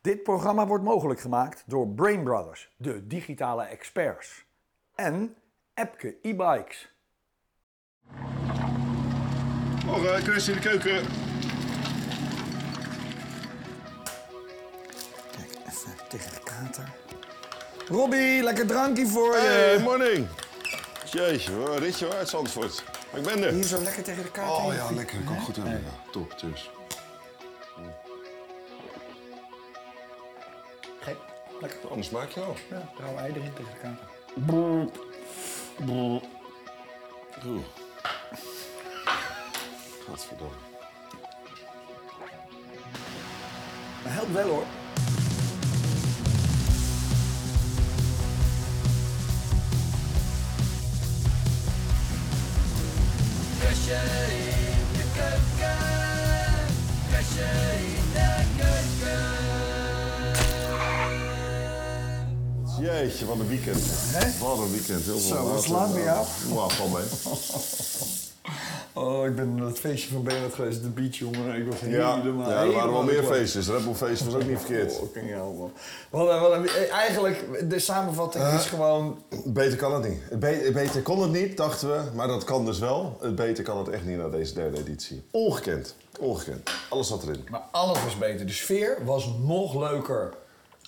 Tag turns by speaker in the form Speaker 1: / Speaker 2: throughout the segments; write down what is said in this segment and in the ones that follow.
Speaker 1: Dit programma wordt mogelijk gemaakt door Brain Brothers, de digitale experts. En Epke e-bikes. eh,
Speaker 2: Morgen, kunst in de keuken.
Speaker 1: Kijk, even tegen de kater. Robbie, lekker drankje voor
Speaker 2: Hey,
Speaker 1: je.
Speaker 2: morning. Jeetje, hoor, ritje hoor, uit Zandvoort. Maar ik ben er.
Speaker 1: Hier zo lekker tegen de kater.
Speaker 2: Oh
Speaker 1: in.
Speaker 2: ja, lekker. Kom goed aan. Ja, top, dus. cheers.
Speaker 1: Gek. Lekker.
Speaker 2: Anders maak je al.
Speaker 1: Ja, rauwe ei erin tegen de kater.
Speaker 2: Oeh. Godverdomme.
Speaker 1: Maar helpt wel hoor.
Speaker 2: Jeetje, wat een weekend.
Speaker 1: Hè?
Speaker 2: Wat een weekend. Heel veel
Speaker 1: Zo, wat
Speaker 2: water.
Speaker 1: slaat bij jou?
Speaker 2: Nou, van mij.
Speaker 1: Oh, ik ben naar het feestje van Bernard geweest, de beach jongen. Ik was
Speaker 2: Ja,
Speaker 1: helemaal...
Speaker 2: ja, er waren wel
Speaker 1: helemaal
Speaker 2: meer
Speaker 1: klaar.
Speaker 2: feestjes. Red Bull feest was ook niet verkeerd.
Speaker 1: Oh, geniaal, man. Wat, een- wat, een- eh, eigenlijk, de samenvatting is gewoon...
Speaker 2: Beter kan het niet. Het be- beter kon het niet, dachten we, maar dat kan dus wel. Het beter kan het echt niet na deze derde editie. Ongekend. Ongekend. Alles zat erin.
Speaker 1: Maar alles was beter. De sfeer was nog leuker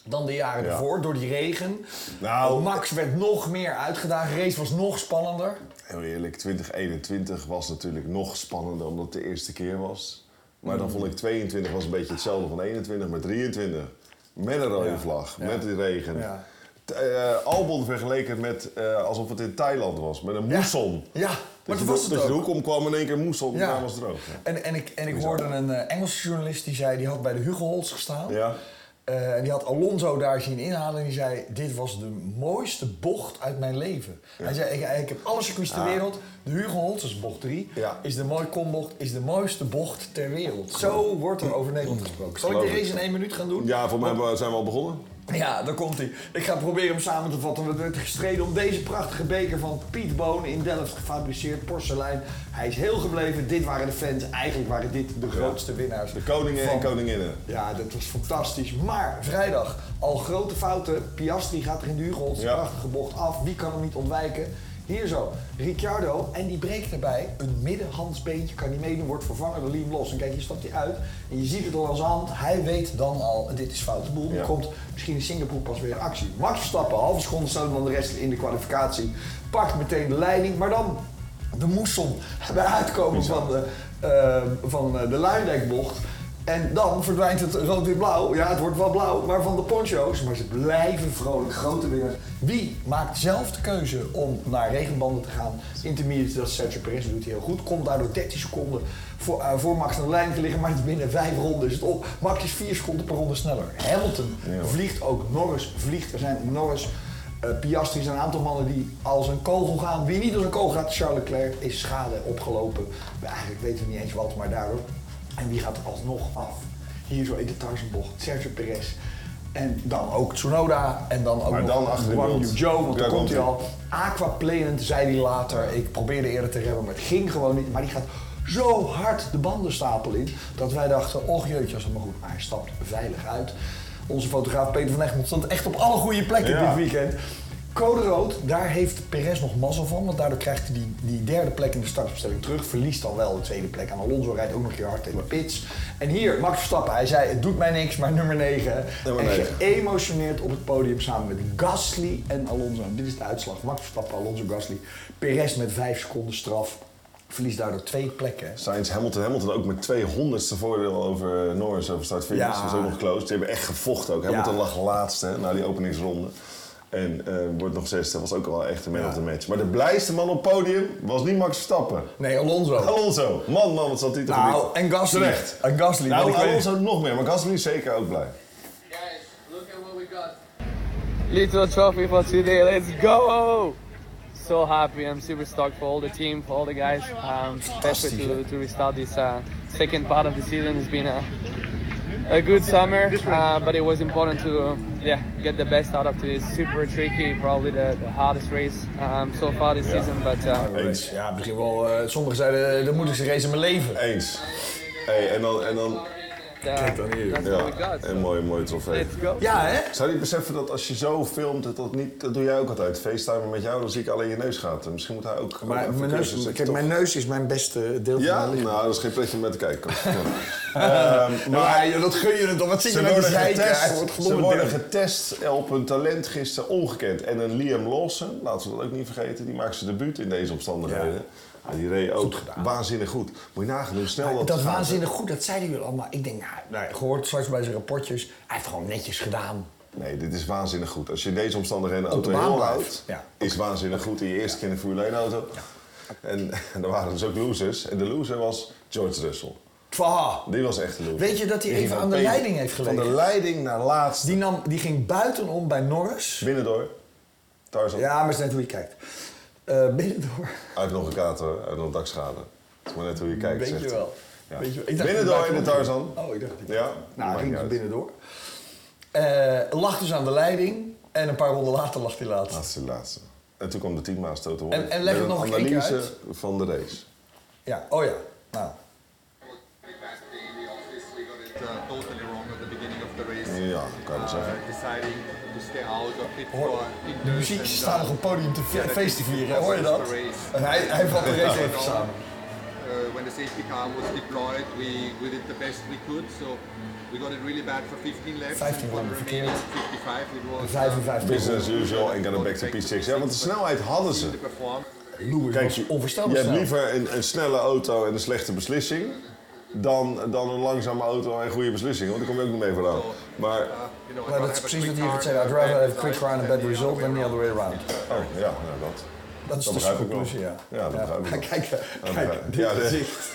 Speaker 1: dan de jaren
Speaker 2: Ja.
Speaker 1: ervoor, door die regen.
Speaker 2: Nou-
Speaker 1: Max werd nog meer uitgedaagd. De race was nog spannender.
Speaker 2: Heel eerlijk, 2021 was natuurlijk nog spannender omdat het de eerste keer was. Maar
Speaker 1: Mm.
Speaker 2: dan vond ik 22 was een beetje hetzelfde van 21, maar 23 met een rode
Speaker 1: Ja,
Speaker 2: vlag,
Speaker 1: ja.
Speaker 2: met die regen.
Speaker 1: Ja.
Speaker 2: T- eh, Albon vergeleken met eh, alsof het in Thailand was, met een moesson.
Speaker 1: Ja, maar
Speaker 2: dus Dat je,
Speaker 1: toen was
Speaker 2: de,
Speaker 1: het
Speaker 2: dat je de
Speaker 1: ook.
Speaker 2: hoek om kwam in één keer moesson en
Speaker 1: Ja.
Speaker 2: daar was het droog.
Speaker 1: En, en ik, en ik hoorde een eh, Engelse journalist die zei, die had bij de Hugo Holtz gestaan.
Speaker 2: Ja.
Speaker 1: Eh, en die had Alonso daar zien inhalen en die zei, dit was de mooiste bocht uit mijn leven. Hij zei, ik, ik heb alle circuits ter wereld, de Hugo Holtz is bocht 3,
Speaker 2: Ah. Ja.
Speaker 1: is de mooi kombocht, is de mooiste bocht ter wereld. Zo wordt er over Nederland gesproken. Zal ik de
Speaker 2: Geloof ik.
Speaker 1: race in één minuut gaan doen?
Speaker 2: Ja, voor mij hebben we- zijn we al begonnen.
Speaker 1: Ja, daar komt hij. Ik ga proberen hem samen te vatten. We werd gestreden om deze prachtige beker van Piet Boon in Delft gefabriceerd porselein. Hij is heel gebleven. Dit waren de fans. Eigenlijk waren dit de grootste winnaars.
Speaker 2: De koningen en koninginnen.
Speaker 1: Ja, dat was fantastisch. Maar vrijdag al grote fouten. Piastri gaat er in de Hugo
Speaker 2: Ja.
Speaker 1: prachtige bocht af. Wie kan hem niet ontwijken? Hier zo, Ricciardo. En die breekt erbij. Een middenhandsbeentje kan niet meedoen, wordt vervangen door Liam Los. En kijk, hier stapt hij uit. En je ziet het al aan zijn hand. Hij weet dan al, dit is foute boel. Dan
Speaker 2: Ja.
Speaker 1: komt misschien in Singapore pas weer in actie. Max Verstappen, halve seconde sneller dan de rest in de kwalificatie. Pakt meteen de leiding. Maar dan de moesson bij uitkomen van de, eh, van eh, de Luindijkbocht. En dan verdwijnt het rood weer blauw. Ja, het wordt wel blauw, maar van de poncho's. Maar ze blijven vrolijk, grote winnaars. Wie maakt zelf de keuze om naar regenbanden te gaan? Intermediate, dat is Sergio Perez, dat doet hij heel goed. Komt daardoor 13 seconden voor, eh, voor Max aan de lijn te liggen. Maar binnen vijf ronden is het op. Max is 4 seconden per ronde sneller. Hamilton
Speaker 2: Ja.
Speaker 1: vliegt ook. Norris vliegt. Er zijn Norris, eh, Piastri, er zijn een aantal mannen die als een kogel gaan. Wie niet als een kogel gaat, Charles Leclerc, is schade opgelopen. Eigenlijk weten we niet eens wat, maar daardoor en wie gaat er alsnog af? Hier zo in de Tarzanbocht, Sergio Perez. En dan ook Tsunoda. En dan ook
Speaker 2: Maar
Speaker 1: nog
Speaker 2: dan achter in
Speaker 1: Guan
Speaker 2: beeld.
Speaker 1: Yu Zhou, want
Speaker 2: Daar
Speaker 1: daar komt
Speaker 2: komt
Speaker 1: hij
Speaker 2: hij.
Speaker 1: al. Aquaplanend, zei hij later. Ik probeerde eerder te remmen, maar het ging gewoon niet. Maar die gaat zo hard de bandenstapel in, dat wij dachten, och jeetje, als het maar goed. Maar hij stapt veilig uit. Onze fotograaf Peter van Egmond stond echt op alle goede plekken
Speaker 2: Ja.
Speaker 1: dit weekend. Code rood, daar heeft Perez nog mazzel van, want daardoor krijgt hij die, die derde plek in de startopstelling terug. Verliest dan wel de tweede plek aan Alonso, rijdt ook nog een keer hard in de pits. En hier, Max Verstappen, hij zei, het doet mij niks, maar nummer 9.
Speaker 2: Nummer
Speaker 1: en
Speaker 2: negen.
Speaker 1: geëmotioneerd op het podium samen met Gasly en Alonso. Dit is de uitslag, Max Verstappen, Alonso, Gasly. Perez met 5 seconden straf, verliest daardoor twee plekken.
Speaker 2: Sainz, Hamilton, Hamilton ook met 200ste voordeel over Norris over start finish.
Speaker 1: Ja.
Speaker 2: Dat is ook nog close. Ze hebben echt gevochten ook. Hamilton
Speaker 1: Ja.
Speaker 2: lag laatste hè, na die openingsronde. En eh, wordt nog zesde. Was ook wel echt een man
Speaker 1: Ja.
Speaker 2: of the match. Maar de blijste man op het podium was niet Max Verstappen.
Speaker 1: Nee, Alonso.
Speaker 2: Alonso. Man, man, wat zat die te
Speaker 1: Nou,
Speaker 2: genieten.
Speaker 1: en Gasly.
Speaker 2: Terecht.
Speaker 1: En Gasly. want
Speaker 2: Nou,
Speaker 1: ik weet-
Speaker 2: Alonso nog meer. Maar Gasly is zeker ook blij.
Speaker 3: Guys, look at what we got.
Speaker 4: Little trophy for today. Let's go! So happy. I'm super stoked for all the team, for all the guys. Um, especially to, to restart this uh, second part of the season. It's been a, a good summer, uh, but it was important to uh, yeah get the best out of this super tricky, probably the, the hardest race um, so far this season. But uh,
Speaker 2: Eens.
Speaker 1: Ja, eh, misschien wel, eh, sommigen zeiden, de moeilijkste race in mijn leven.
Speaker 2: Eens. Hey, en dan, en dan
Speaker 4: uh,
Speaker 1: dan hier.
Speaker 4: that's what we
Speaker 2: Ja,
Speaker 4: got.
Speaker 2: een
Speaker 4: So
Speaker 2: mooi, mooi trofee.
Speaker 4: let's go.
Speaker 1: Ja, hè?
Speaker 2: Zou je beseffen dat als je zo filmt, dat dat niet... Dat doe jij ook altijd. Facetimen met jou, dan zie ik alleen je neusgaten. Misschien moet hij ook... ook
Speaker 1: Maar
Speaker 2: even
Speaker 1: mijn
Speaker 2: cursus,
Speaker 1: neus,
Speaker 2: dat je
Speaker 1: kijk,
Speaker 2: toch-
Speaker 1: mijn neus is mijn beste deel
Speaker 2: Ja,
Speaker 1: van mijn lichaam.
Speaker 2: nou, dat is geen plekje om naar te kijken. Ehm, maar
Speaker 1: Eh, Maar joh, Nou, dat gun je het toch? Wat zit je
Speaker 2: ze
Speaker 1: met die
Speaker 2: worden,
Speaker 1: zeiken? Hij wordt
Speaker 2: getest, ze
Speaker 1: genoemd
Speaker 2: worden
Speaker 1: derde.
Speaker 2: getest op hun talent gisteren ongekend. En een Liam Lawson, laten we dat ook niet vergeten, die maakt zijn debuut in deze omstandigheden. Ja, die reed ook waanzinnig goed. Moet je nagaan hoe snel dat
Speaker 1: Dat
Speaker 2: gaat, hè?
Speaker 1: waanzinnig goed, dat zeiden jullie allemaal. Ik denk, nou, nou ja, gehoord straks bij zijn rapportjes. Hij heeft gewoon netjes gedaan.
Speaker 2: Nee, dit is waanzinnig goed. Als je in deze omstandigheden een auto
Speaker 1: de baan
Speaker 2: heel
Speaker 1: blijft.
Speaker 2: houdt,
Speaker 1: Ja.
Speaker 2: is waanzinnig goed. In je eerste keer in een Formule 1 auto. En, en er waren dus ook losers. En de loser was George Russell.
Speaker 1: Twa. Ah,
Speaker 2: Die was echt de loser.
Speaker 1: Weet je dat hij even
Speaker 2: Die ging
Speaker 1: aan de
Speaker 2: van P-
Speaker 1: leiding heeft gelegen?
Speaker 2: Van de leiding naar laatst.
Speaker 1: Die, nam, die ging buitenom bij Norris.
Speaker 2: Binnen door. Tarzan.
Speaker 1: Ja, maar is net hoe je kijkt. Eh binnendoor.
Speaker 2: Uit nog een kater, hoor. uit nog een dakschade. Het is maar net hoe je kijkt.
Speaker 1: Weet
Speaker 2: zegt
Speaker 1: je
Speaker 2: hij.
Speaker 1: wel.
Speaker 2: Ja.
Speaker 1: Weet je wel. Ik dacht-
Speaker 2: Binnendoor in de Tarzan.
Speaker 1: Oh, ik dacht...
Speaker 2: Ja,
Speaker 1: Nou, hij
Speaker 2: maakt niet
Speaker 1: ging
Speaker 2: uit.
Speaker 1: binnendoor. Eh lag dus aan de leiding. En een paar ronden later lag hij laatst.
Speaker 2: Laatste, laatste. En toen kwam de teammaas Toto Wolff
Speaker 1: En- en leg
Speaker 2: met
Speaker 1: het nog
Speaker 2: een
Speaker 1: een keer
Speaker 2: analyse
Speaker 1: uit.
Speaker 2: van de race.
Speaker 1: Ja, oh ja. Nou.
Speaker 5: back in the office, we got it uh, totally wrong at the beginning of the race.
Speaker 2: Ja, kan je wel
Speaker 5: Uh,
Speaker 2: zeggen.
Speaker 5: deciding to stay out of pit
Speaker 1: Hoor,
Speaker 5: for
Speaker 1: de
Speaker 5: indoors
Speaker 1: muziekjes
Speaker 5: and,
Speaker 1: staan
Speaker 5: uh,
Speaker 1: nog op het podium te fe-
Speaker 5: yeah,
Speaker 1: feest te vieren, hè?
Speaker 5: that
Speaker 1: hoor je
Speaker 5: is
Speaker 1: dat?
Speaker 5: the race.
Speaker 1: En hij, hij vat de race even samen.
Speaker 5: Uh, when the safety car was deployed, we, we did the best we could, so we got it really bad for 15 laps.
Speaker 1: 15
Speaker 5: For the
Speaker 1: landen
Speaker 5: remaining
Speaker 1: verkeerd.
Speaker 5: 55, it was uh,
Speaker 1: 55.
Speaker 2: Business as usual en gonna back to P6. Ja, want de snelheid hadden ze.
Speaker 5: to perform.
Speaker 1: Lewis
Speaker 2: Kijk,
Speaker 1: was
Speaker 2: je,
Speaker 1: onvoorstelbaar
Speaker 2: je hebt
Speaker 1: snel.
Speaker 2: liever een, een snelle auto en een slechte beslissing... Dan, dan een langzame auto en een goede beslissing. Want daar kom je ook niet mee vandaan. Maar, oh,
Speaker 5: You know,
Speaker 1: Maar dat is precies wat hij heeft gezegd. I'd rather have a quick round and bad result than the other way around.
Speaker 2: oh ja, nou dat.
Speaker 1: Dat is
Speaker 2: Dat
Speaker 1: de
Speaker 2: begrijp ik wel.
Speaker 1: conclusie, ja.
Speaker 2: Ja, dat begrijp ik wel.
Speaker 1: Kijk, eh,
Speaker 2: Dat
Speaker 1: kijk,
Speaker 2: begrijp ik.
Speaker 1: dit
Speaker 2: Ja, dit-
Speaker 1: gezicht.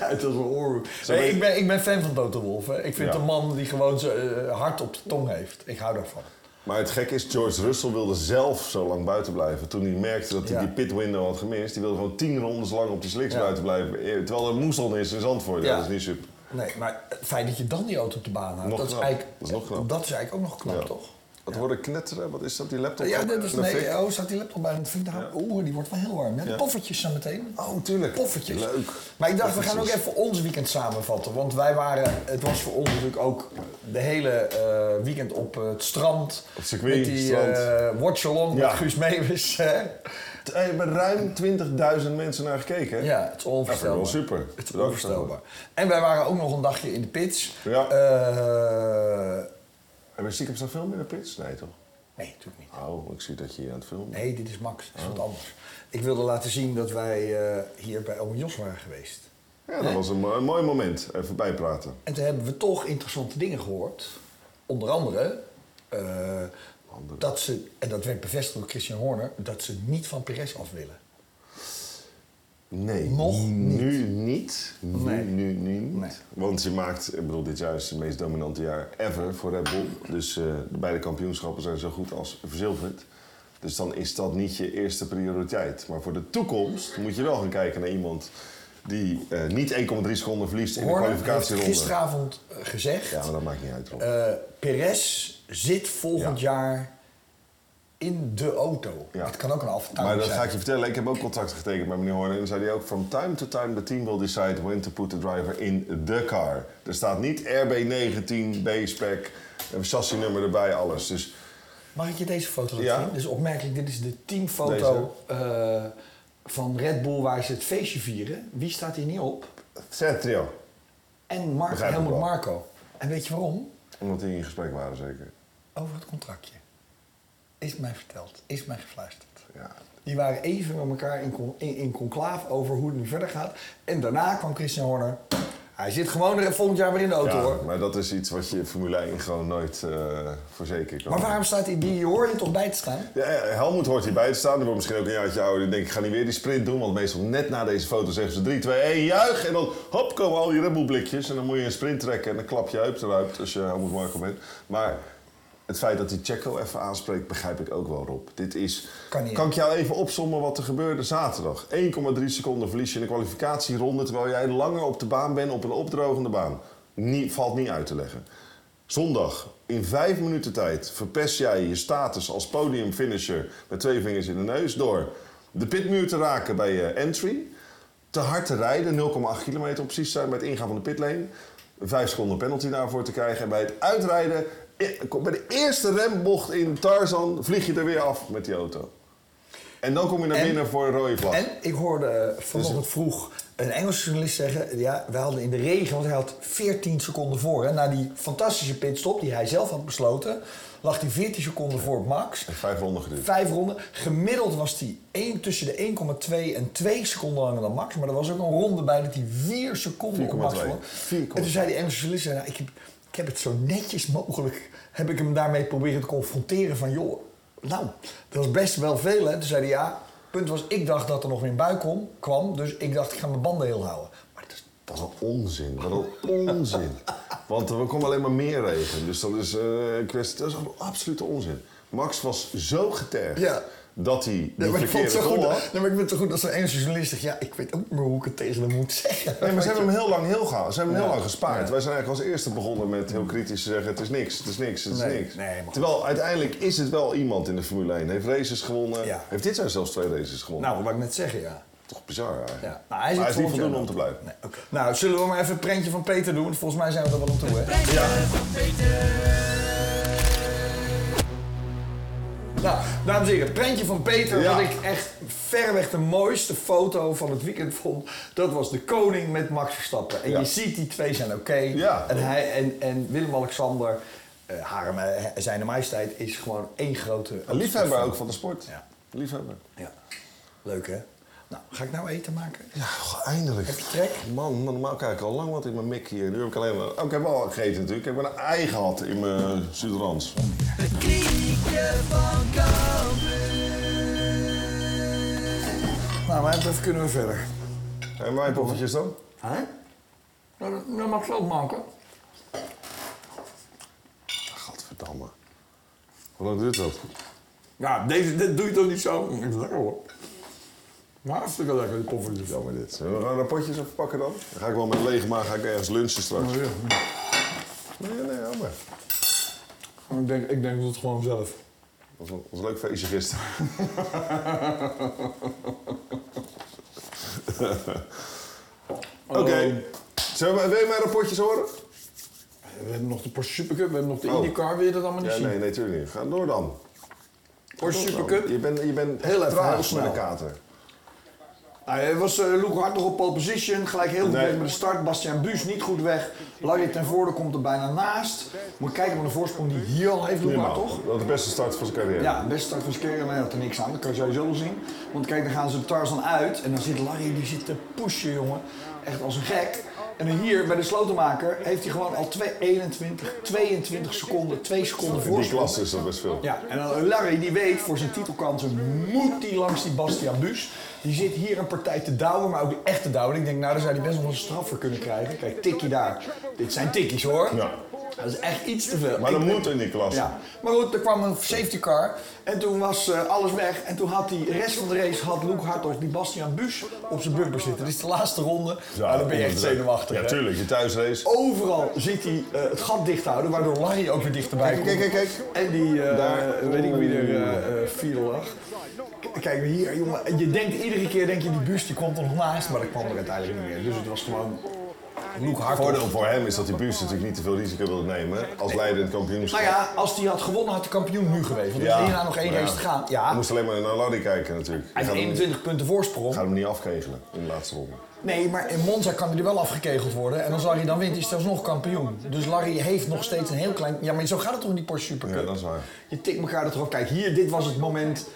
Speaker 1: Uit als een oorhoek.
Speaker 2: Zullen we-
Speaker 1: ik, ben, ik ben fan van Toto Wolff. hè. Ik vind
Speaker 2: Ja.
Speaker 1: een man die gewoon zijn eh, hart op de tong heeft. Ik hou daarvan.
Speaker 2: Maar het gekke is, George Russell wilde zelf zo lang buiten blijven. Toen hij merkte dat hij
Speaker 1: Ja.
Speaker 2: die pitwindow had gemist. Die wilde gewoon tien rondes lang op de slicks
Speaker 1: Ja.
Speaker 2: buiten blijven. Eh, Terwijl er moezel is in Zandvoort. Ja.
Speaker 1: Ja.
Speaker 2: Dat is niet super.
Speaker 1: Nee, maar het feit dat je dan die auto op de baan houdt,
Speaker 2: Nog
Speaker 1: dat is,
Speaker 2: knap.
Speaker 1: eigenlijk,
Speaker 2: Dat is nog knap.
Speaker 1: dat is eigenlijk ook nog knap,
Speaker 2: Ja.
Speaker 1: toch?
Speaker 2: Wat hoorde knetteren? Wat is dat? Die laptop?
Speaker 1: Ja, dat is
Speaker 2: Een fik?
Speaker 1: nee. Oh, staat die laptop bij een vind nou, Oeh, die wordt wel heel warm. Hè?
Speaker 2: Ja.
Speaker 1: Poffertjes zo meteen.
Speaker 2: Oh, tuurlijk.
Speaker 1: Poffertjes.
Speaker 2: Leuk.
Speaker 1: Maar ik dacht, we gaan ook
Speaker 2: Poffertjes.
Speaker 1: even ons weekend samenvatten. Want wij waren, het was voor ons natuurlijk ook de hele eh, weekend op eh, het strand.
Speaker 2: het circuit,
Speaker 1: Met die
Speaker 2: strand.
Speaker 1: eh, watch-along
Speaker 2: Ja.
Speaker 1: met Guus Meeuwis. hè.
Speaker 2: Er Eh, hebben ruim 20.000 mensen naar gekeken. hè?
Speaker 1: Ja, het is
Speaker 2: Dat vind ik
Speaker 1: onvoorstelbaar.
Speaker 2: wel super.
Speaker 1: Het is
Speaker 2: Bedankt
Speaker 1: onvoorstelbaar.
Speaker 2: daarvoor.
Speaker 1: En wij waren ook nog een dagje in de pits.
Speaker 2: Ja.
Speaker 1: Eh,
Speaker 2: Hebben we stiekem staan filmen in de pits? Nee, toch?
Speaker 1: nee, natuurlijk niet.
Speaker 2: Oh, ik zie dat je hier aan het filmen bent.
Speaker 1: Nee, dit is Max. Dat is
Speaker 2: Oh.
Speaker 1: wat anders. Ik wilde laten zien dat wij eh, hier bij Oom Jos waren geweest.
Speaker 2: Ja, dat was een, mo- een mooi moment. Even bijpraten.
Speaker 1: En toen hebben we toch interessante dingen gehoord. Onder andere, eh,
Speaker 2: Andere.
Speaker 1: dat ze, en dat werd bevestigd door Christian Horner, dat ze niet van Perez af willen.
Speaker 2: Nee.
Speaker 1: Nog
Speaker 2: Nu niet. Nu,
Speaker 1: Nee.
Speaker 2: nu, nu niet.
Speaker 1: Nee.
Speaker 2: Want je maakt, ik bedoel, dit jaar is het meest dominante jaar ever voor Red Bull. Dus eh, de beide kampioenschappen zijn zo goed als verzilverd. Dus dan is dat niet je eerste prioriteit. Maar voor de toekomst moet je wel gaan kijken naar iemand die eh, niet 1,3 seconden verliest in de
Speaker 1: Horner heeft
Speaker 2: kwalificatieronde.
Speaker 1: gisteravond eh, gezegd,
Speaker 2: Ja, maar dat maakt niet uit, Rob.
Speaker 1: eh, Perez zit volgend
Speaker 2: Ja.
Speaker 1: jaar in de auto.
Speaker 2: Ja.
Speaker 1: Het kan ook een
Speaker 2: Maar
Speaker 1: aftaling
Speaker 2: dat
Speaker 1: zijn.
Speaker 2: ga ik je vertellen. Ik heb ook contracten getekend met meneer Horner. En dan zei hij ook, from time to time the team will decide when to put the driver in the car. Er staat niet RB19, B-spec, een chassisnummer erbij, alles. Dus
Speaker 1: Mag ik je deze foto laten
Speaker 2: Ja.
Speaker 1: zien? Dit is opmerkelijk. Dit is de teamfoto eh, van Red Bull waar ze het feestje vieren. Wie staat hier niet op?
Speaker 2: Sergio.
Speaker 1: En Mar
Speaker 2: Begrijp ik
Speaker 1: Helmut
Speaker 2: wel.
Speaker 1: Marco. En weet je waarom?
Speaker 2: Omdat die in gesprek waren zeker.
Speaker 1: Over het contractje. Is mij verteld. Is mij gefluisterd.
Speaker 2: Ja.
Speaker 1: Die waren even met elkaar in, con- in, in conclaaf over hoe het nu verder gaat. En daarna kwam Christian Horner. Hij zit gewoon er volgend jaar weer in de auto
Speaker 2: ja,
Speaker 1: hoor.
Speaker 2: maar dat is iets wat je in Formule 1 gewoon nooit eh voor zeker kan.
Speaker 1: Maar waarom staat hij die hoor je toch bij te staan?
Speaker 2: Ja, ja, Helmoet hoort hierbij te staan. Die wordt misschien ook een jaartje ouder. Die denkt, ik ga niet weer die sprint doen. Want meestal net na deze foto zeggen ze 3, 2, 1, juich. En dan hop, komen al die Red Bull blikjes. En dan moet je een sprint trekken. En dan klap je heup eruit als je Helmoet Marco bent. Maar het feit dat die Checo even aanspreekt, begrijp ik ook wel, Rob. Dit is...
Speaker 1: Kan niet.
Speaker 2: ik jou even opsommen wat er gebeurde zaterdag? 1,3 seconden verlies je in de kwalificatieronde... terwijl jij langer op de baan bent op een opdrogende baan. Niet, valt niet uit te leggen. Zondag, in vijf minuten tijd, verpest jij je status als podiumfinisher met twee vingers in de neus door de pitmuur te raken bij je entry, te hard te rijden, 0,8 kilometer om precies te zijn bij het ingaan van de pitlane, vijf seconden penalty daarvoor te krijgen. En bij het uitrijden, eh, bij de eerste rembocht in Tarzan, vlieg je er weer af met die auto. En dan kom je naar
Speaker 1: En-
Speaker 2: binnen voor een rode vlag.
Speaker 1: En ik hoorde eh, vanochtend vroeg een Engelse journalist zeggen... ja, wij hadden in de regen, want hij had 14 seconden voor. Hè, na die fantastische pitstop die hij zelf had besloten... lag hij 14 seconden voor op Max.
Speaker 2: Vijf ronden geduurd.
Speaker 1: Vijf ronden. Gemiddeld was hij één- tussen de 1,2 en 2 seconden langer dan Max. Maar er was ook een ronde bij dat hij 4 seconden op Max
Speaker 2: 4,2.
Speaker 1: vond.
Speaker 2: 4,2.
Speaker 1: En toen zei die Engelse journalist, zei, nou, ik, heb, ik heb het zo netjes mogelijk... heb ik hem daarmee proberen te confronteren van... joh, nou, dat is best wel veel. Hè? Toen zei hij, ja, punt was, ik dacht dat er nog meer bui kom, kwam. Dus ik dacht, ik ga mijn banden heel houden. Maar dat is
Speaker 2: Wat een onzin, wat een onzin. Want er komt alleen maar meer regen. Dus dat is eh, een kwestie, dat is absolute onzin. Max was zo getergd
Speaker 1: Ja.
Speaker 2: dat hij de
Speaker 1: Nee, maar ik vond het
Speaker 2: verkeerde
Speaker 1: zo goed.
Speaker 2: goal had.
Speaker 1: Nee, maar ik vind het zo goed als zo'n Engelse journalist zegt... ja, ik weet ook niet meer hoe ik het tegen hem moet zeggen.
Speaker 2: Nee, maar ze hebben hem heel lang heel gehaald. Ze hebben hem heel lang gespaard. Wij zijn eigenlijk als eerste begonnen met heel kritisch te zeggen: het is niks, het is niks, het is
Speaker 1: Nee,
Speaker 2: niks.
Speaker 1: nee, maar goed.
Speaker 2: Terwijl uiteindelijk is het wel iemand in de Formule 1. Heeft races gewonnen.
Speaker 1: Ja.
Speaker 2: Heeft dit jaar zelfs twee races gewonnen.
Speaker 1: Nou, wat ik net zeggen, ja.
Speaker 2: Toch bizar eigenlijk.
Speaker 1: Ja. Nou,
Speaker 2: Maar hij is, niet voldoende om te blijven.
Speaker 1: Nee, oké. Nou, zullen we maar even een prentje van Peter doen? Want Volgens mij zijn we er wel om toe, hè? Nou, dames en heren, prentje van Peter.
Speaker 2: Ja.
Speaker 1: Wat ik echt verreweg de mooiste foto van het weekend vond. Dat was de koning met Max Verstappen. En
Speaker 2: Ja.
Speaker 1: je ziet, die twee zijn oké.
Speaker 2: Ja.
Speaker 1: En, hij en, en Willem-Alexander, eh haar, eh, zijn majesteit, is gewoon één grote...
Speaker 2: Een liefhebber ook van de sport.
Speaker 1: Ja.
Speaker 2: Liefhebber.
Speaker 1: Ja. Leuk, hè? Nou, ga ik nou eten maken?
Speaker 2: Ja, goh, eindelijk.
Speaker 1: Heb je trek?
Speaker 2: Man, man, normaal kijk ik al lang wat in mijn mik hier. Nu heb ik alleen maar... Oh, ik heb wel gegeten natuurlijk. Ik heb een ei gehad in mijn Sudrans.
Speaker 1: Nou, maar dat kunnen we verder.
Speaker 2: En mijn poffertjes dan?
Speaker 1: Hè? Nou, dat mag zelf maken.
Speaker 2: Gadverdamme. Hoe lang duurt dat?
Speaker 1: Ja, deze, dit doe je toch niet zo? Dat is lekker hoor. Maar hartstikke lekker, die poffertjes.
Speaker 2: Zo Oh, maar dit. Zullen we gaan naar potjes even pakken dan? Dan ga ik wel met lege maag ga ik ergens lunchen
Speaker 1: Oh,
Speaker 2: straks. Nee, nee, ja, maar.
Speaker 1: Ik denk, ik denk dat het gewoon zelf.
Speaker 2: Dat was een, was een leuk feestje gisteren.
Speaker 1: Oh.
Speaker 2: Oké. Zullen we, wil je mijn rapportjes horen?
Speaker 1: We hebben nog de Porsche Supercup, we hebben nog de
Speaker 2: Oh.
Speaker 1: IndyCar, wil je dat allemaal niet
Speaker 2: Ja,
Speaker 1: zien?
Speaker 2: nee, natuurlijk niet. Ga door dan.
Speaker 1: Porsche
Speaker 2: Door dan.
Speaker 1: Supercup.
Speaker 2: Je bent, je bent
Speaker 1: Heel even,
Speaker 2: traag
Speaker 1: heel snel.
Speaker 2: met de kater.
Speaker 1: Nou, Hij was eh Luke Hart nog op pole position, gelijk heel goed
Speaker 2: Nee.
Speaker 1: weg met de start. Bastiaan Buus niet goed weg. Larry ten Voorde komt er bijna naast. Moet kijken naar de voorsprong die hier al heeft, Luke Hart
Speaker 2: Normaal.
Speaker 1: toch?
Speaker 2: Dat is de beste start van zijn carrière.
Speaker 1: Ja, de beste start van Skerry, maar hij had er niks aan. Dat kan je sowieso wel zien. Want kijk, dan gaan ze de Tarzan uit en dan zit Larry, die zit te pushen, jongen. Echt als een gek. En dan hier, bij de slotenmaker, heeft hij gewoon al 2, 21, 22 seconden, 2 seconden
Speaker 2: In die
Speaker 1: voorsprong.
Speaker 2: klas is dat best veel.
Speaker 1: Ja, en dan Larry die weet voor zijn titelkansen moet hij langs die Bastiaan Buus. Die zit hier een partij te douwen, maar ook echt te douwen. Ik denk, nou, daar zou hij best nog wel een straf voor kunnen krijgen. Kijk, tikkie daar. Dit zijn tikkies hoor.
Speaker 2: Ja.
Speaker 1: Dat is echt iets te veel.
Speaker 2: Maar
Speaker 1: Ik
Speaker 2: dat
Speaker 1: denk-
Speaker 2: moet in die klas.
Speaker 1: ja, maar goed, er kwam een safety car en toen was eh, alles weg. En toen had die rest van de race, had Luke Hartog die Bastiaan Buus op zijn bumper zitten. Dit is de laatste ronde,
Speaker 2: Ja,
Speaker 1: nou, dan ben je echt
Speaker 2: onder de-
Speaker 1: zenuwachtig.
Speaker 2: Ja,
Speaker 1: hè?
Speaker 2: tuurlijk. Je thuisrace.
Speaker 1: Overal zit hij eh, het gat dicht te houden, waardoor Larry ook weer dichterbij komt.
Speaker 2: kijk, kijk, kijk.
Speaker 1: En die, eh,
Speaker 2: Daar.
Speaker 1: weet ik wie er eh eh, vierde lag. K- Kijk, hier, jongen, en je denkt iedere keer, denk je, die Buus die komt er nog naast, maar dat kwam er uiteindelijk niet meer. Dus het was gewoon Luke Hartog.
Speaker 2: voordeel voor hem is dat die Buus natuurlijk niet te veel risico wil nemen als leider in het kampioenschap.
Speaker 1: Nou ja, als die had gewonnen, had de kampioen nu geweest. Want er is hierna nog één
Speaker 2: maar
Speaker 1: race te gaan.
Speaker 2: Hij
Speaker 1: Ja,
Speaker 2: moest alleen maar naar Larry kijken natuurlijk.
Speaker 1: Hij
Speaker 2: gaat
Speaker 1: heeft
Speaker 2: hem,
Speaker 1: 21 punten
Speaker 2: gaat
Speaker 1: voorsprong.
Speaker 2: hem niet afkegelen in de laatste ronde.
Speaker 1: Nee, maar in Monza kan hij er wel afgekegeld worden. En als Larry dan wint, is hij nog kampioen. Dus Larry heeft nog steeds een heel klein... Ja, maar zo gaat het toch in die Porsche Supercup?
Speaker 2: Ja, dat is waar.
Speaker 1: Je tikt elkaar er toch op. Kijk, hier, dit was het moment.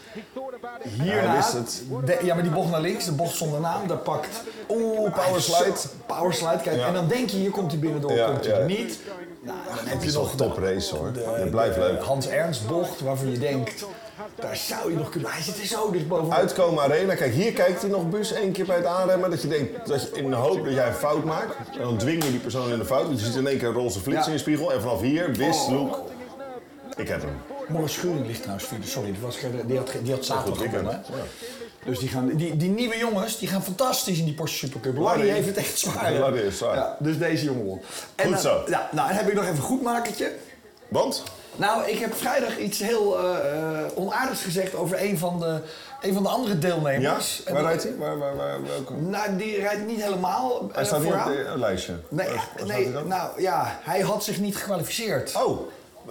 Speaker 1: Hierna...
Speaker 2: hij wist het.
Speaker 1: De- ja, maar die bocht naar links, de bocht zonder naam, daar pakt... Oeh, powerslide. Powerslide, kijk.
Speaker 2: Ja.
Speaker 1: En dan denk je, hier komt hij binnendoor,
Speaker 2: Ja,
Speaker 1: komt hij
Speaker 2: ja.
Speaker 1: niet. Nou, dan heb je
Speaker 2: Het is nog
Speaker 1: nog
Speaker 2: een toprace hoor. Het blijft
Speaker 1: de
Speaker 2: leuk.
Speaker 1: Hans Ernst bocht, waarvan je denkt... Daar zou je nog kunnen... Hij zit er zo dicht bovenop.
Speaker 2: Uitkomen Arena, kijk hier kijkt hij nog bus één keer bij het aanremmen. Dat je denkt, dat je in de hoop dat jij een fout maakt. En dan dwing je die persoon in de fout. Want je ziet in één keer een roze flits
Speaker 1: Ja. Oh.
Speaker 2: in je spiegel. En vanaf hier, wist Luke, ik heb hem.
Speaker 1: Morris Schuring ligt trouwens vierde. Sorry, die, was, geen- die, had, geen- die had zaterdag
Speaker 2: Goed weekend.
Speaker 1: gewonnen. hè? Dus die, gaan, die, die nieuwe jongens die gaan fantastisch in die Porsche Supercup.
Speaker 2: Larry.
Speaker 1: Larry heeft het echt zwaar. hè?
Speaker 2: Larry is zwaar.
Speaker 1: Ja, dus deze jongen won. En dan-
Speaker 2: Goed zo.
Speaker 1: Ja, nou, en heb ik nog even een goedmakertje.
Speaker 2: Want?
Speaker 1: Nou, ik heb vrijdag iets heel eh, eh, onaardigs gezegd over een van de, een van de andere
Speaker 2: Ja?
Speaker 1: deelnemers. En
Speaker 2: Waar
Speaker 1: dat-
Speaker 2: rijdt hij? Waar, waar, waar, welke?
Speaker 1: Nou, die rijdt niet helemaal eh,
Speaker 2: Hij staat niet op
Speaker 1: vooraan.
Speaker 2: het eh, lijstje.
Speaker 1: Nee,
Speaker 2: Waar-
Speaker 1: ja,
Speaker 2: waar staat
Speaker 1: nee
Speaker 2: hij dan?
Speaker 1: nou ja, hij had zich niet gekwalificeerd.
Speaker 2: Oh,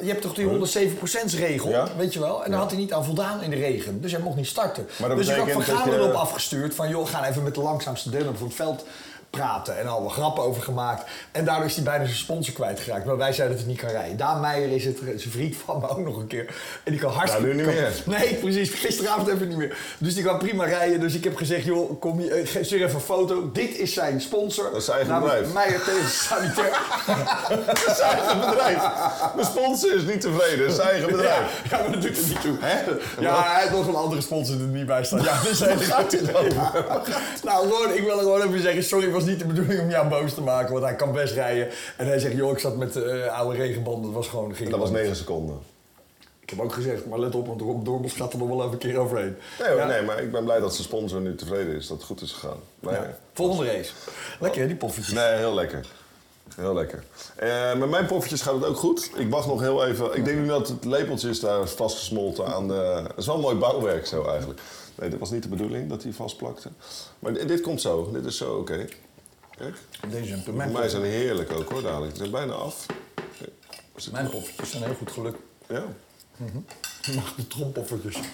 Speaker 1: Je hebt toch die 107% regel,
Speaker 2: Ja.
Speaker 1: weet je wel? En daar had hij niet aan voldaan in de regen. Dus hij mocht niet starten.
Speaker 2: Maar dat
Speaker 1: dus ik had Van
Speaker 2: betekent dat
Speaker 1: Gaal
Speaker 2: je-
Speaker 1: erop afgestuurd van... joh, ga even met de langzaamste deelnemer van het veld praten. En al wat grappen over gemaakt. En daardoor is hij bijna zijn sponsor kwijtgeraakt. Maar wij zeiden dat hij niet kan rijden. Daan Meijer is het, eh, zijn vriend van me ook nog een keer. En die kan hartstikke...
Speaker 2: Nou, nu niet
Speaker 1: kan-
Speaker 2: meer.
Speaker 1: Nee, precies. Gisteravond even niet meer. Dus die kan prima rijden. Dus ik heb gezegd, joh, kom je, eh, geef stuur even een foto. Dit is zijn sponsor.
Speaker 2: Dat is zijn eigen
Speaker 1: Namelijk
Speaker 2: bedrijf.
Speaker 1: Meijer tegen sanitair.
Speaker 2: dat is zijn eigen bedrijf. De sponsor is niet tevreden, het is zijn eigen bedrijf.
Speaker 1: Ja, maar dat doet het niet toe.
Speaker 2: Hè?
Speaker 1: Ja, hij heeft nog een andere sponsor die er niet bij staat. Ja, dus hij
Speaker 2: gaat dit over?
Speaker 1: Nou, Ron, ik wil er gewoon even zeggen, sorry, het was niet de bedoeling om jou boos te maken, want hij kan best rijden. En hij zegt, joh, ik zat met eh, oude regenbanden, dat was gewoon... Ging
Speaker 2: Dat was 9 seconden.
Speaker 1: Ik heb ook gezegd, maar let op, want Rob Dormels gaat er nog wel even een keer overheen.
Speaker 2: Nee, hoor,
Speaker 1: Ja.
Speaker 2: nee, maar ik ben blij dat zijn sponsor nu tevreden is, dat het goed is gegaan. Maar ja.
Speaker 1: Volgende race. Lekker, hè, die poffertjes.
Speaker 2: Nee, heel lekker. Heel lekker. Eh, met mijn poffertjes gaat het ook goed. Ik wacht nog heel even. Ik denk nu dat het lepeltje is daar vastgesmolten aan de... Het is wel een mooi bouwwerk zo eigenlijk. Nee, dat was niet de bedoeling dat hij vastplakte. Maar dit, dit komt zo. Dit is zo oké. Kijk.
Speaker 1: Deze zijn
Speaker 2: Voor
Speaker 1: mijn,
Speaker 2: mij zijn die heerlijk ook hoor dadelijk. Ze zijn bijna af. Oké. Is het-
Speaker 1: mijn poffertjes zijn heel goed geluk.
Speaker 2: Ja.
Speaker 1: Mag de trompoffertjes.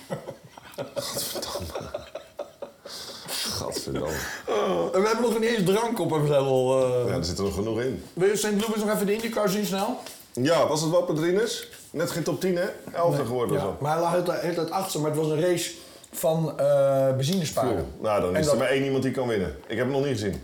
Speaker 2: Gadverdamme.
Speaker 1: En we hebben nog niet eens drank op en we zijn al... eh,
Speaker 2: Ja, er zit er nog genoeg in.
Speaker 1: Wil je St. Louis nog even de IndyCar zien snel?
Speaker 2: Ja, was het wat met Rinus? Net geen top 10 hè? 11 geworden of
Speaker 1: Ja,
Speaker 2: zo.
Speaker 1: maar hij lag heel de hele tijd achter, maar het was een race van eh benzinesparen.
Speaker 2: Nou, dan
Speaker 1: En
Speaker 2: is
Speaker 1: dat-
Speaker 2: er maar één iemand die kan winnen. Ik heb hem nog niet gezien.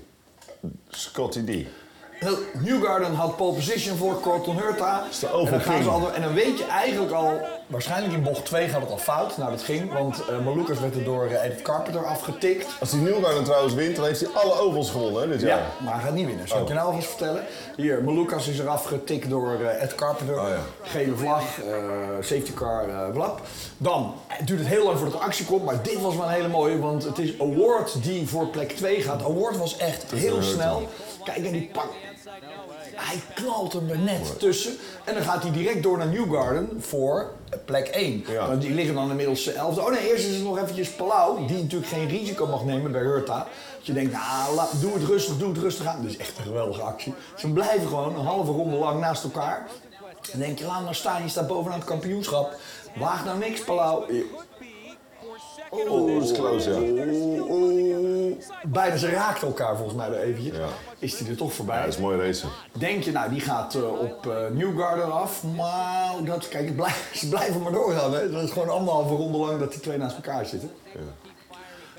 Speaker 2: Scotty D.
Speaker 1: Heel- Newgarden had pole position voor Corton Hurta.
Speaker 2: de
Speaker 1: en, dan gaan
Speaker 2: overking.
Speaker 1: ze al, en dan weet je eigenlijk al, waarschijnlijk in bocht 2 gaat het al fout. Nou, dat ging, want eh Malukas werd er door eh, Edith Carpenter afgetikt.
Speaker 2: Als die Newgarden trouwens wint, dan heeft hij alle ovals gewonnen hè, dit jaar.
Speaker 1: Maar hij gaat niet winnen. Zal ik je nou alvast vertellen? Hier, Malukas is eraf getikt door eh, Ed Carpenter.
Speaker 2: Oh,
Speaker 1: Gele vlag, eh, safety car, eh blap. Dan het duurt het heel lang voordat de actie komt. Maar dit was wel een hele mooie, want het is Award die voor plek 2 gaat. Award was echt heel snel. Kijk, en die pak. Hij knalt hem er net tussen. En dan gaat hij direct door naar Newgarden voor eh, plek 1.
Speaker 2: Ja.
Speaker 1: Want die liggen dan inmiddels de elfde. Oh nee, eerst is het nog eventjes Palau, die natuurlijk geen risico mag nemen bij Hurta. Dat je denkt, nou, la- doe het rustig, doe het rustig aan. Dat is echt een geweldige actie. Ze blijven gewoon een halve ronde lang naast elkaar. Dan denk je, laat nou staan, je staat bovenaan het kampioenschap. Waag nou niks, Palau. Oh,
Speaker 2: Oeh, dat is close ja.
Speaker 1: Oeh, oeh. Oh, Bijna, ze raakten elkaar volgens mij er eventjes.
Speaker 2: Ja.
Speaker 1: Is die er toch
Speaker 2: Ja,
Speaker 1: voorbij?
Speaker 2: Dat is mooi racen.
Speaker 1: Denk je, nou, die gaat eh, op eh, Newgarden af. Maar dat, kijk, het blijft- ze blijven maar doorgaan. Hè. Dat is gewoon anderhalve ronde lang dat die twee naast elkaar zitten.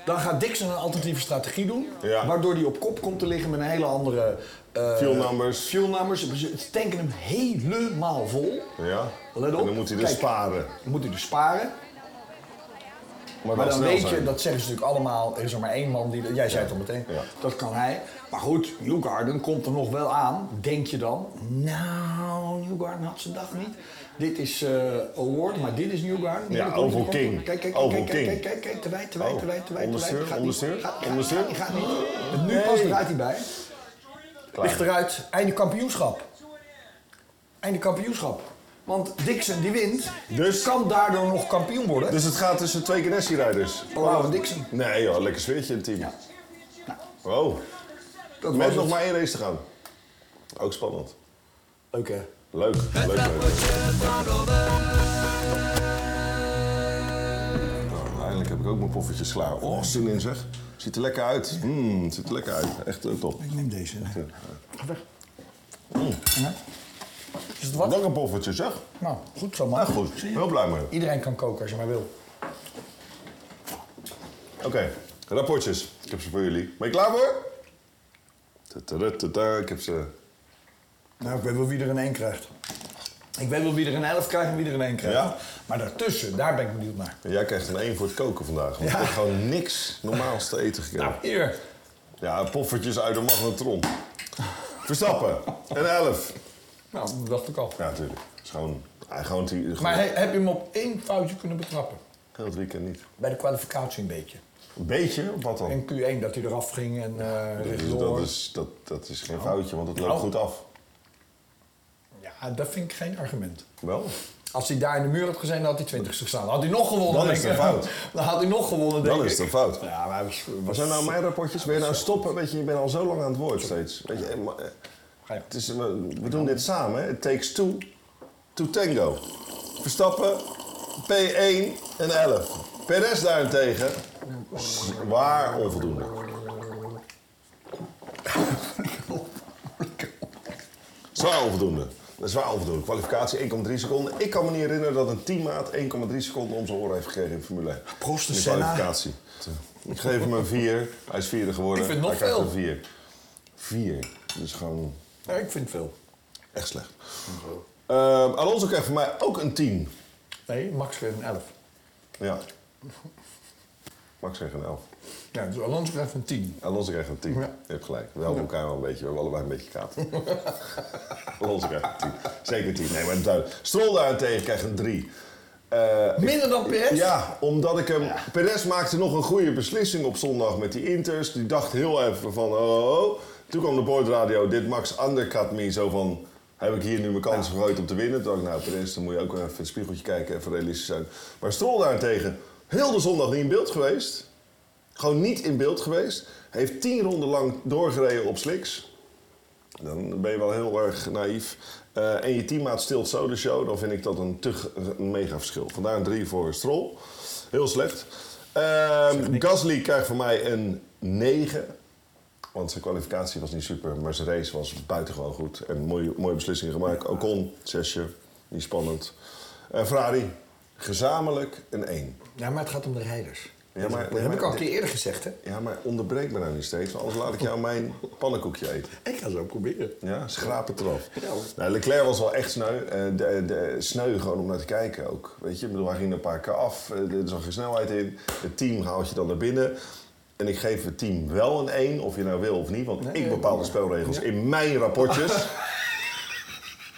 Speaker 1: Dan gaat Dixon een alternatieve strategie doen.
Speaker 2: Ja.
Speaker 1: Waardoor hij op kop komt te liggen met een hele andere... eh,
Speaker 2: Fuel numbers.
Speaker 1: Fuel numbers. Ze tanken hem helemaal vol.
Speaker 2: Ja.
Speaker 1: Let op.
Speaker 2: En dan moet hij dus
Speaker 1: Kijk.
Speaker 2: sparen.
Speaker 1: Dan moet hij dus sparen. Maar
Speaker 2: Maar, wel
Speaker 1: dan
Speaker 2: snel
Speaker 1: weet
Speaker 2: zijn.
Speaker 1: je, dat zeggen ze natuurlijk allemaal, er is er maar één man die... Jij zei het al meteen,
Speaker 2: Ja.
Speaker 1: dat kan hij. Maar goed, Newgarden komt er nog wel aan, denk je dan. Nou, Newgarden had zijn dag niet. Dit is eh, Award, maar dit is Newgarden. Die
Speaker 2: Ja,
Speaker 1: komt er-
Speaker 2: Oval
Speaker 1: komt er-
Speaker 2: King.
Speaker 1: Kijk, kijk,
Speaker 2: Oval
Speaker 1: kijk, kijk,
Speaker 2: King.
Speaker 1: kijk, kijk, kijk, te wijd, te wijd, te wijd, te wijd, te wijd.
Speaker 2: Ondersteun,
Speaker 1: Gaat niet,
Speaker 2: ondersteun,
Speaker 1: gaat- gaat-
Speaker 2: ondersteun.
Speaker 1: gaat- Gaat niet. Het nu
Speaker 2: Nee.
Speaker 1: pas draait hij bij.
Speaker 2: Klaar.
Speaker 1: Ligt eruit, einde kampioenschap. Einde kampioenschap. Want Dixon die wint,
Speaker 2: Dus?
Speaker 1: kan daardoor nog kampioen worden.
Speaker 2: Dus het gaat tussen twee Ganassi-rijders?
Speaker 1: Palau en Dixon.
Speaker 2: Nee joh, lekker sfeertje in het team. Nou.
Speaker 1: Ja.
Speaker 2: Wow.
Speaker 1: Dat
Speaker 2: Met
Speaker 1: was
Speaker 2: nog
Speaker 1: het.
Speaker 2: maar één race te gaan. Ook spannend.
Speaker 1: Leuk hè?
Speaker 2: Leuk, leuk, leuk. Nou, Eindelijk heb ik ook mijn poffertjes klaar. Oh, zin in zeg. Ziet er lekker uit. Mm, ziet er lekker uit. Echt eh, top. Mm.
Speaker 1: Ik neem deze. Ga weg. Ja. Is het wat?
Speaker 2: Lekker poffertje zeg.
Speaker 1: Nou, goed zo man.
Speaker 2: Nou goed, heel blij mee.
Speaker 1: Iedereen kan koken als je maar wil.
Speaker 2: Oké, rapportjes. Ik heb ze voor jullie. Ben je klaar voor? Tudutudu, Ik heb ze.
Speaker 1: Nou, ik weet wel wie er een 1 krijgt. Ik weet wel wie er een 11 krijgt en wie er een 1 krijgt.
Speaker 2: Ja?
Speaker 1: Maar daartussen, daar ben ik benieuwd naar.
Speaker 2: Jij krijgt een 1 voor het koken vandaag. Want
Speaker 1: Ja.
Speaker 2: ik heb gewoon niks normaals te eten gekregen.
Speaker 1: Hier.
Speaker 2: Ja, poffertjes uit de magnetron. Verstappen, een 11.
Speaker 1: Nou, dat dacht ik al.
Speaker 2: Ja, natuurlijk. Het is gewoon, hij gewoon, die, gewoon
Speaker 1: Maar he- heb je hem op één foutje kunnen betrappen?
Speaker 2: heel het weekend niet.
Speaker 1: Bij de kwalificatie een beetje.
Speaker 2: Een beetje, of wat dan?
Speaker 1: In Q1 dat hij eraf ging en eh
Speaker 2: Dus
Speaker 1: rechtdoor.
Speaker 2: Nou. dat, is, dat, dat is geen foutje, want het loopt
Speaker 1: Oh.
Speaker 2: goed af.
Speaker 1: Ja,
Speaker 6: Ah, dat vind ik geen argument.
Speaker 2: Wel?
Speaker 1: Als hij daar in de muur had gezeten, dan had hij 20 gestaan. Had hij nog gewonnen,
Speaker 2: Dan
Speaker 1: denk
Speaker 2: is
Speaker 1: ik.
Speaker 2: het een fout.
Speaker 1: Dan had hij nog gewonnen, denk
Speaker 2: Dan is
Speaker 1: ik.
Speaker 2: het een fout.
Speaker 1: Ja, maar hij was,
Speaker 2: Wat
Speaker 1: was
Speaker 2: zijn nou mijn rapportjes? Wil je nou stoppen? Weet je, je bent al zo lang aan het woord steeds. Weet je, eh, maar, eh,
Speaker 6: Ga je.
Speaker 2: het is, we, we doen dit samen, hè? It takes two to tango. Verstappen, P1 en 11. Perez daarentegen, zwaar onvoldoende. Zwaar onvoldoende. Zwaar onvoldoende. Kwalificatie 1,3 seconden. Ik kan me niet herinneren dat een teammaat 1,3 seconden om zijn oren heeft gekregen in Formule 1.
Speaker 1: Prost en
Speaker 2: In de
Speaker 1: Senna.
Speaker 2: kwalificatie. Ik geef hem een 4. Hij is vierde geworden.
Speaker 1: Ik vind het nog
Speaker 2: Hij krijgt
Speaker 1: veel.
Speaker 2: een 4. 4. Dat is gewoon
Speaker 1: Ja, ik vind veel.
Speaker 2: echt slecht. Ehm, Alonso krijgt voor mij ook een 10.
Speaker 1: Nee, Max kreeg een 11.
Speaker 2: Ja. Max zegt een 11.
Speaker 1: Ja, dus Alonso krijgt een 10.
Speaker 2: nou. Alonso krijgt een 10.
Speaker 1: Ja.
Speaker 2: Je hebt gelijk. We helpen elkaar wel een beetje. We hebben allebei een beetje kaat. Alonso krijgt een 10. Zeker een 10. Nee, maar duidelijk. Stroll daarentegen krijgt een 3.
Speaker 1: Minder dan PS?
Speaker 2: Ja, omdat ik hem... Perez maakte nog een goede beslissing op zondag met die Inters. Die dacht heel even van... Oh, oh, oh. Toen kwam de boordradio, dit Max undercut me. Zo van, heb ik hier nu mijn kans gegooid om te winnen? Toen dacht ik, nou Perez, dan moet je ook even in het spiegeltje kijken. Even realistisch zijn. Maar Stroll daarentegen, heel de zondag niet in beeld geweest. Gewoon niet in beeld geweest. Heeft tien ronden lang doorgereden op sliks. Dan ben je wel heel erg naïef. Eh, en je teammaat stilt zo de show, dan vind ik dat een te g- een mega verschil. Vandaar een 3 voor Stroll. Heel slecht. Ehm Gasly krijgt voor mij een 9. Want zijn kwalificatie was niet super, maar zijn race was buitengewoon goed. En mooie, mooie beslissingen gemaakt. Ocon, zesje. Niet spannend. Eh, Ferrari, gezamenlijk een 1.
Speaker 1: Ja, maar het gaat om de rijders.
Speaker 2: Ja, maar-
Speaker 1: dat heb ik al een
Speaker 2: dit-
Speaker 1: keer eerder gezegd, hè?
Speaker 2: Ja, maar onderbreek me nou niet steeds, want anders laat ik jou mijn pannenkoekje eten.
Speaker 1: Ik ga zo proberen.
Speaker 2: Ja, schraap het eraf.
Speaker 1: Ja, hoor.
Speaker 2: Nou, Leclerc was wel echt sneu. Eh, de, de, sneu gewoon om naar te kijken ook. Weet je, ik bedoel, hij ging er een paar keer af. eh, Er zag geen snelheid in. Het team haalt je dan naar binnen. En ik geef het team wel een 1, of je nou wil of niet. Want ik bepaal de spelregels in mijn rapportjes.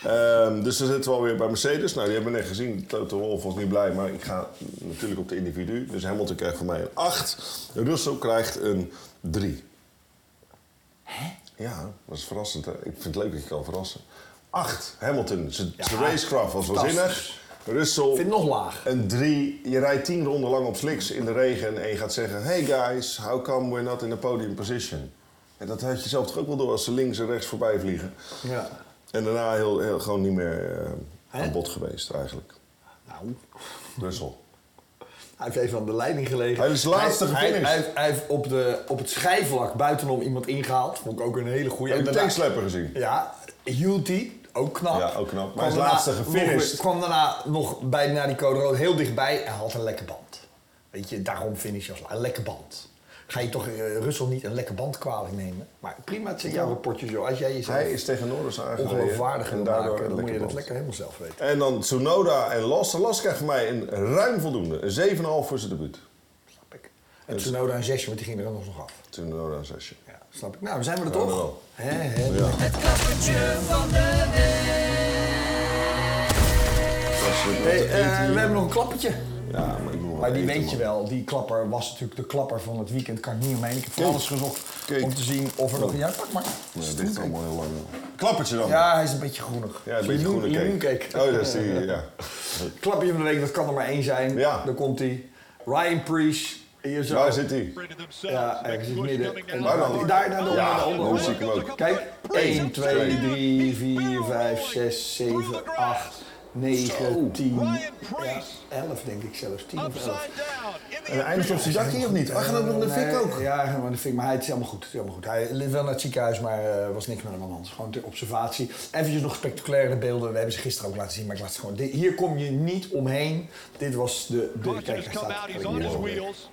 Speaker 2: Ehm, dus dan zitten we alweer bij Mercedes. Nou, die hebben we net gezien. Toto Wolff was niet blij, maar ik ga natuurlijk op de individu. Dus Hamilton krijgt van mij een 8. Russell krijgt een 3. Ja, dat is verrassend. Hè? Ik vind het leuk dat je kan verrassen. 8. Hamilton, zijn zijn racecraft was waanzinnig. Russell,
Speaker 1: Ik vind het nog laag.
Speaker 2: een 3. Je rijdt 10 ronden lang op sliks in de regen en je gaat zeggen... Hey guys, how come we're not in a podium position? En dat had je zelf toch ook wel door als ze links en rechts voorbij vliegen.
Speaker 1: Ja.
Speaker 2: En daarna heel, heel- gewoon niet meer eh,
Speaker 1: Hè?
Speaker 2: aan bod geweest eigenlijk.
Speaker 1: Nou,
Speaker 2: Russell.
Speaker 1: hij heeft even aan de leiding gelegen.
Speaker 2: Hij is laatste
Speaker 1: Hij- hij-
Speaker 2: gefinished.
Speaker 1: Hij, hij heeft op, de, op het schijfvlak buitenom iemand ingehaald. Vond ik ook een hele goede.
Speaker 2: Heb je
Speaker 1: En
Speaker 2: de
Speaker 1: daarna-
Speaker 2: tankslapper gezien?
Speaker 1: Ja, hield hij. Ook knap.
Speaker 2: Ja, ook knap. Maar
Speaker 1: Kwam
Speaker 2: hij is
Speaker 1: daarna
Speaker 2: laatste gefinished.
Speaker 1: nog weer- kwam daarna nog bij, naar die code rood heel dichtbij en had een lekker band. Weet je, daarom finish je als la- een lekker band. Ga je toch eh, Russell niet een lekker band kwalijk nemen? Maar prima, het zijn jouw rapportjes, joh. Als jij jezelf
Speaker 2: Hij is tegen Norris aangereden.
Speaker 1: ongeloofwaardig
Speaker 2: en
Speaker 1: wil
Speaker 2: daardoor
Speaker 1: maken, dan moet je dat
Speaker 2: band.
Speaker 1: lekker helemaal zelf weten.
Speaker 2: En dan Tsunoda en Las. Las krijgt voor mij een ruim voldoende. Een 7,5 voor zijn debuut.
Speaker 1: Snap ik.
Speaker 2: Dus-
Speaker 1: En Tsunoda een zesje, want die ging er anders nog af.
Speaker 2: Tsunoda een zesje.
Speaker 1: Ja, snap ik. Nou, dan zijn we er
Speaker 2: Ja,
Speaker 1: toch?
Speaker 2: wel.
Speaker 1: Hè, hè.
Speaker 7: Het kappertje van de week.
Speaker 1: Hey, eh,
Speaker 2: E
Speaker 1: we hebben nog een klappertje.
Speaker 2: Ja, maar ik moet wel
Speaker 1: Maar die
Speaker 2: eten,
Speaker 1: weet je
Speaker 2: E man.
Speaker 1: wel, die klapper was natuurlijk de klapper van het weekend. Kan ik niet omheen. Ik heb van
Speaker 2: Kijk.
Speaker 1: alles gezocht
Speaker 2: Kijk.
Speaker 1: om te zien of er nog een... Ja, pak maar.
Speaker 2: Nee, dit is allemaal heel lang. Klappertje dan.
Speaker 1: Ja, hij is een beetje groenig.
Speaker 2: Ja, een beetje groene cake. Oh, dat is die, ja.
Speaker 1: Klapje van de week, dat kan er maar één zijn.
Speaker 2: Ja.
Speaker 1: Dan komt hij. Ryan Preece. Hier zo.
Speaker 2: Waar zit die?
Speaker 1: Ja, hij zit midden.
Speaker 2: Waar dan?
Speaker 1: Daar, daar, onder,
Speaker 2: Ja,
Speaker 1: daar, onder.
Speaker 2: nu zie ik hem ook.
Speaker 1: Kijk, 1, 2, 3, 4, 5, 6, 7, 8, 9, 10, ja, 11 denk ik zelfs, 10 of 11.
Speaker 2: En eindigt op zijn jakkie of niet? Ach, en ook nog de fik
Speaker 1: Nee,
Speaker 2: ook.
Speaker 1: Ja, maar de fik. Maar hij het is helemaal goed. Het is helemaal goed. Hij ligt wel naar het ziekenhuis, maar eh, was niks met hem aan de hand. Gewoon ter observatie. Eventjes nog spectaculaire beelden. We hebben ze gisteren ook laten zien, maar ik laat ze gewoon. Dit- hier kom je niet omheen. Dit was de. de kijk,
Speaker 8: Carson has
Speaker 1: hij
Speaker 8: come
Speaker 1: staat-
Speaker 8: out.
Speaker 1: kijk,
Speaker 8: He's on
Speaker 1: hier
Speaker 8: his
Speaker 1: zo.
Speaker 8: wheels.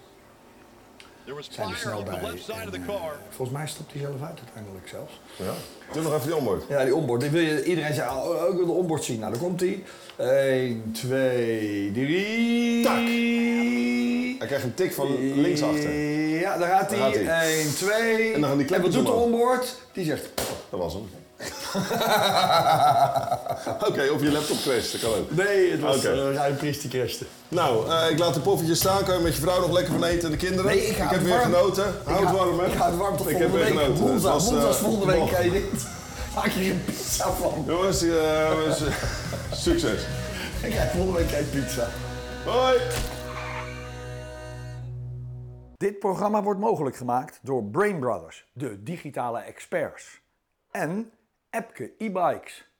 Speaker 8: There was
Speaker 1: Zijn er
Speaker 8: fire
Speaker 1: snel
Speaker 8: on
Speaker 1: bij.
Speaker 8: the left side of
Speaker 1: En,
Speaker 8: the
Speaker 1: eh,
Speaker 8: car.
Speaker 1: volgens mij stapt hij zelf uit uiteindelijk zelfs.
Speaker 2: Ja. Doe nog even die omhoord.
Speaker 1: Ja, die onboard. Die wil je, iedereen zei, oh, oh, ik wil de onboard zien. Nou, daar komt hij. 1, 2, 3.
Speaker 2: Tak. Hij krijgt een tik van
Speaker 1: Eh.
Speaker 2: linksachter.
Speaker 1: Ja, daar gaat
Speaker 2: Daar gaat
Speaker 1: hij.
Speaker 2: hij.
Speaker 1: 1, 2.
Speaker 2: En dan gaan die
Speaker 1: En wat
Speaker 2: klepjes
Speaker 1: doet de
Speaker 2: omhoog.
Speaker 1: onboard? Die zegt,
Speaker 2: Dat was hem. Oké, of je laptop crasht, dat kan ook.
Speaker 1: nee, het was eh,
Speaker 2: Oké.
Speaker 1: okay. Ryan Priest die crashte.
Speaker 2: Nou, eh, ik laat de poffertjes staan. Kan je met je vrouw nog lekker van eten en de kinderen?
Speaker 1: Nee, ik hou
Speaker 2: heb
Speaker 1: het
Speaker 2: weer
Speaker 1: warm.
Speaker 2: genoten. Hou het
Speaker 1: ga-
Speaker 2: warm, hè?
Speaker 1: Ik ga het warm tot
Speaker 2: Ik heb
Speaker 1: volgende
Speaker 2: weer
Speaker 1: week.
Speaker 2: genoten. Het
Speaker 1: Woensdag,
Speaker 2: was, eh,
Speaker 1: woensdag volgende week
Speaker 2: nog.
Speaker 1: kan je dit.
Speaker 9: Maak hier een pizza van.
Speaker 2: Jongens, eh, jongens, eh, succes.
Speaker 9: Ik krijg volgende week geen pizza.
Speaker 2: Hoi!
Speaker 1: Dit programma wordt mogelijk gemaakt door Brain Brothers, de digitale experts. En Epke e-bikes.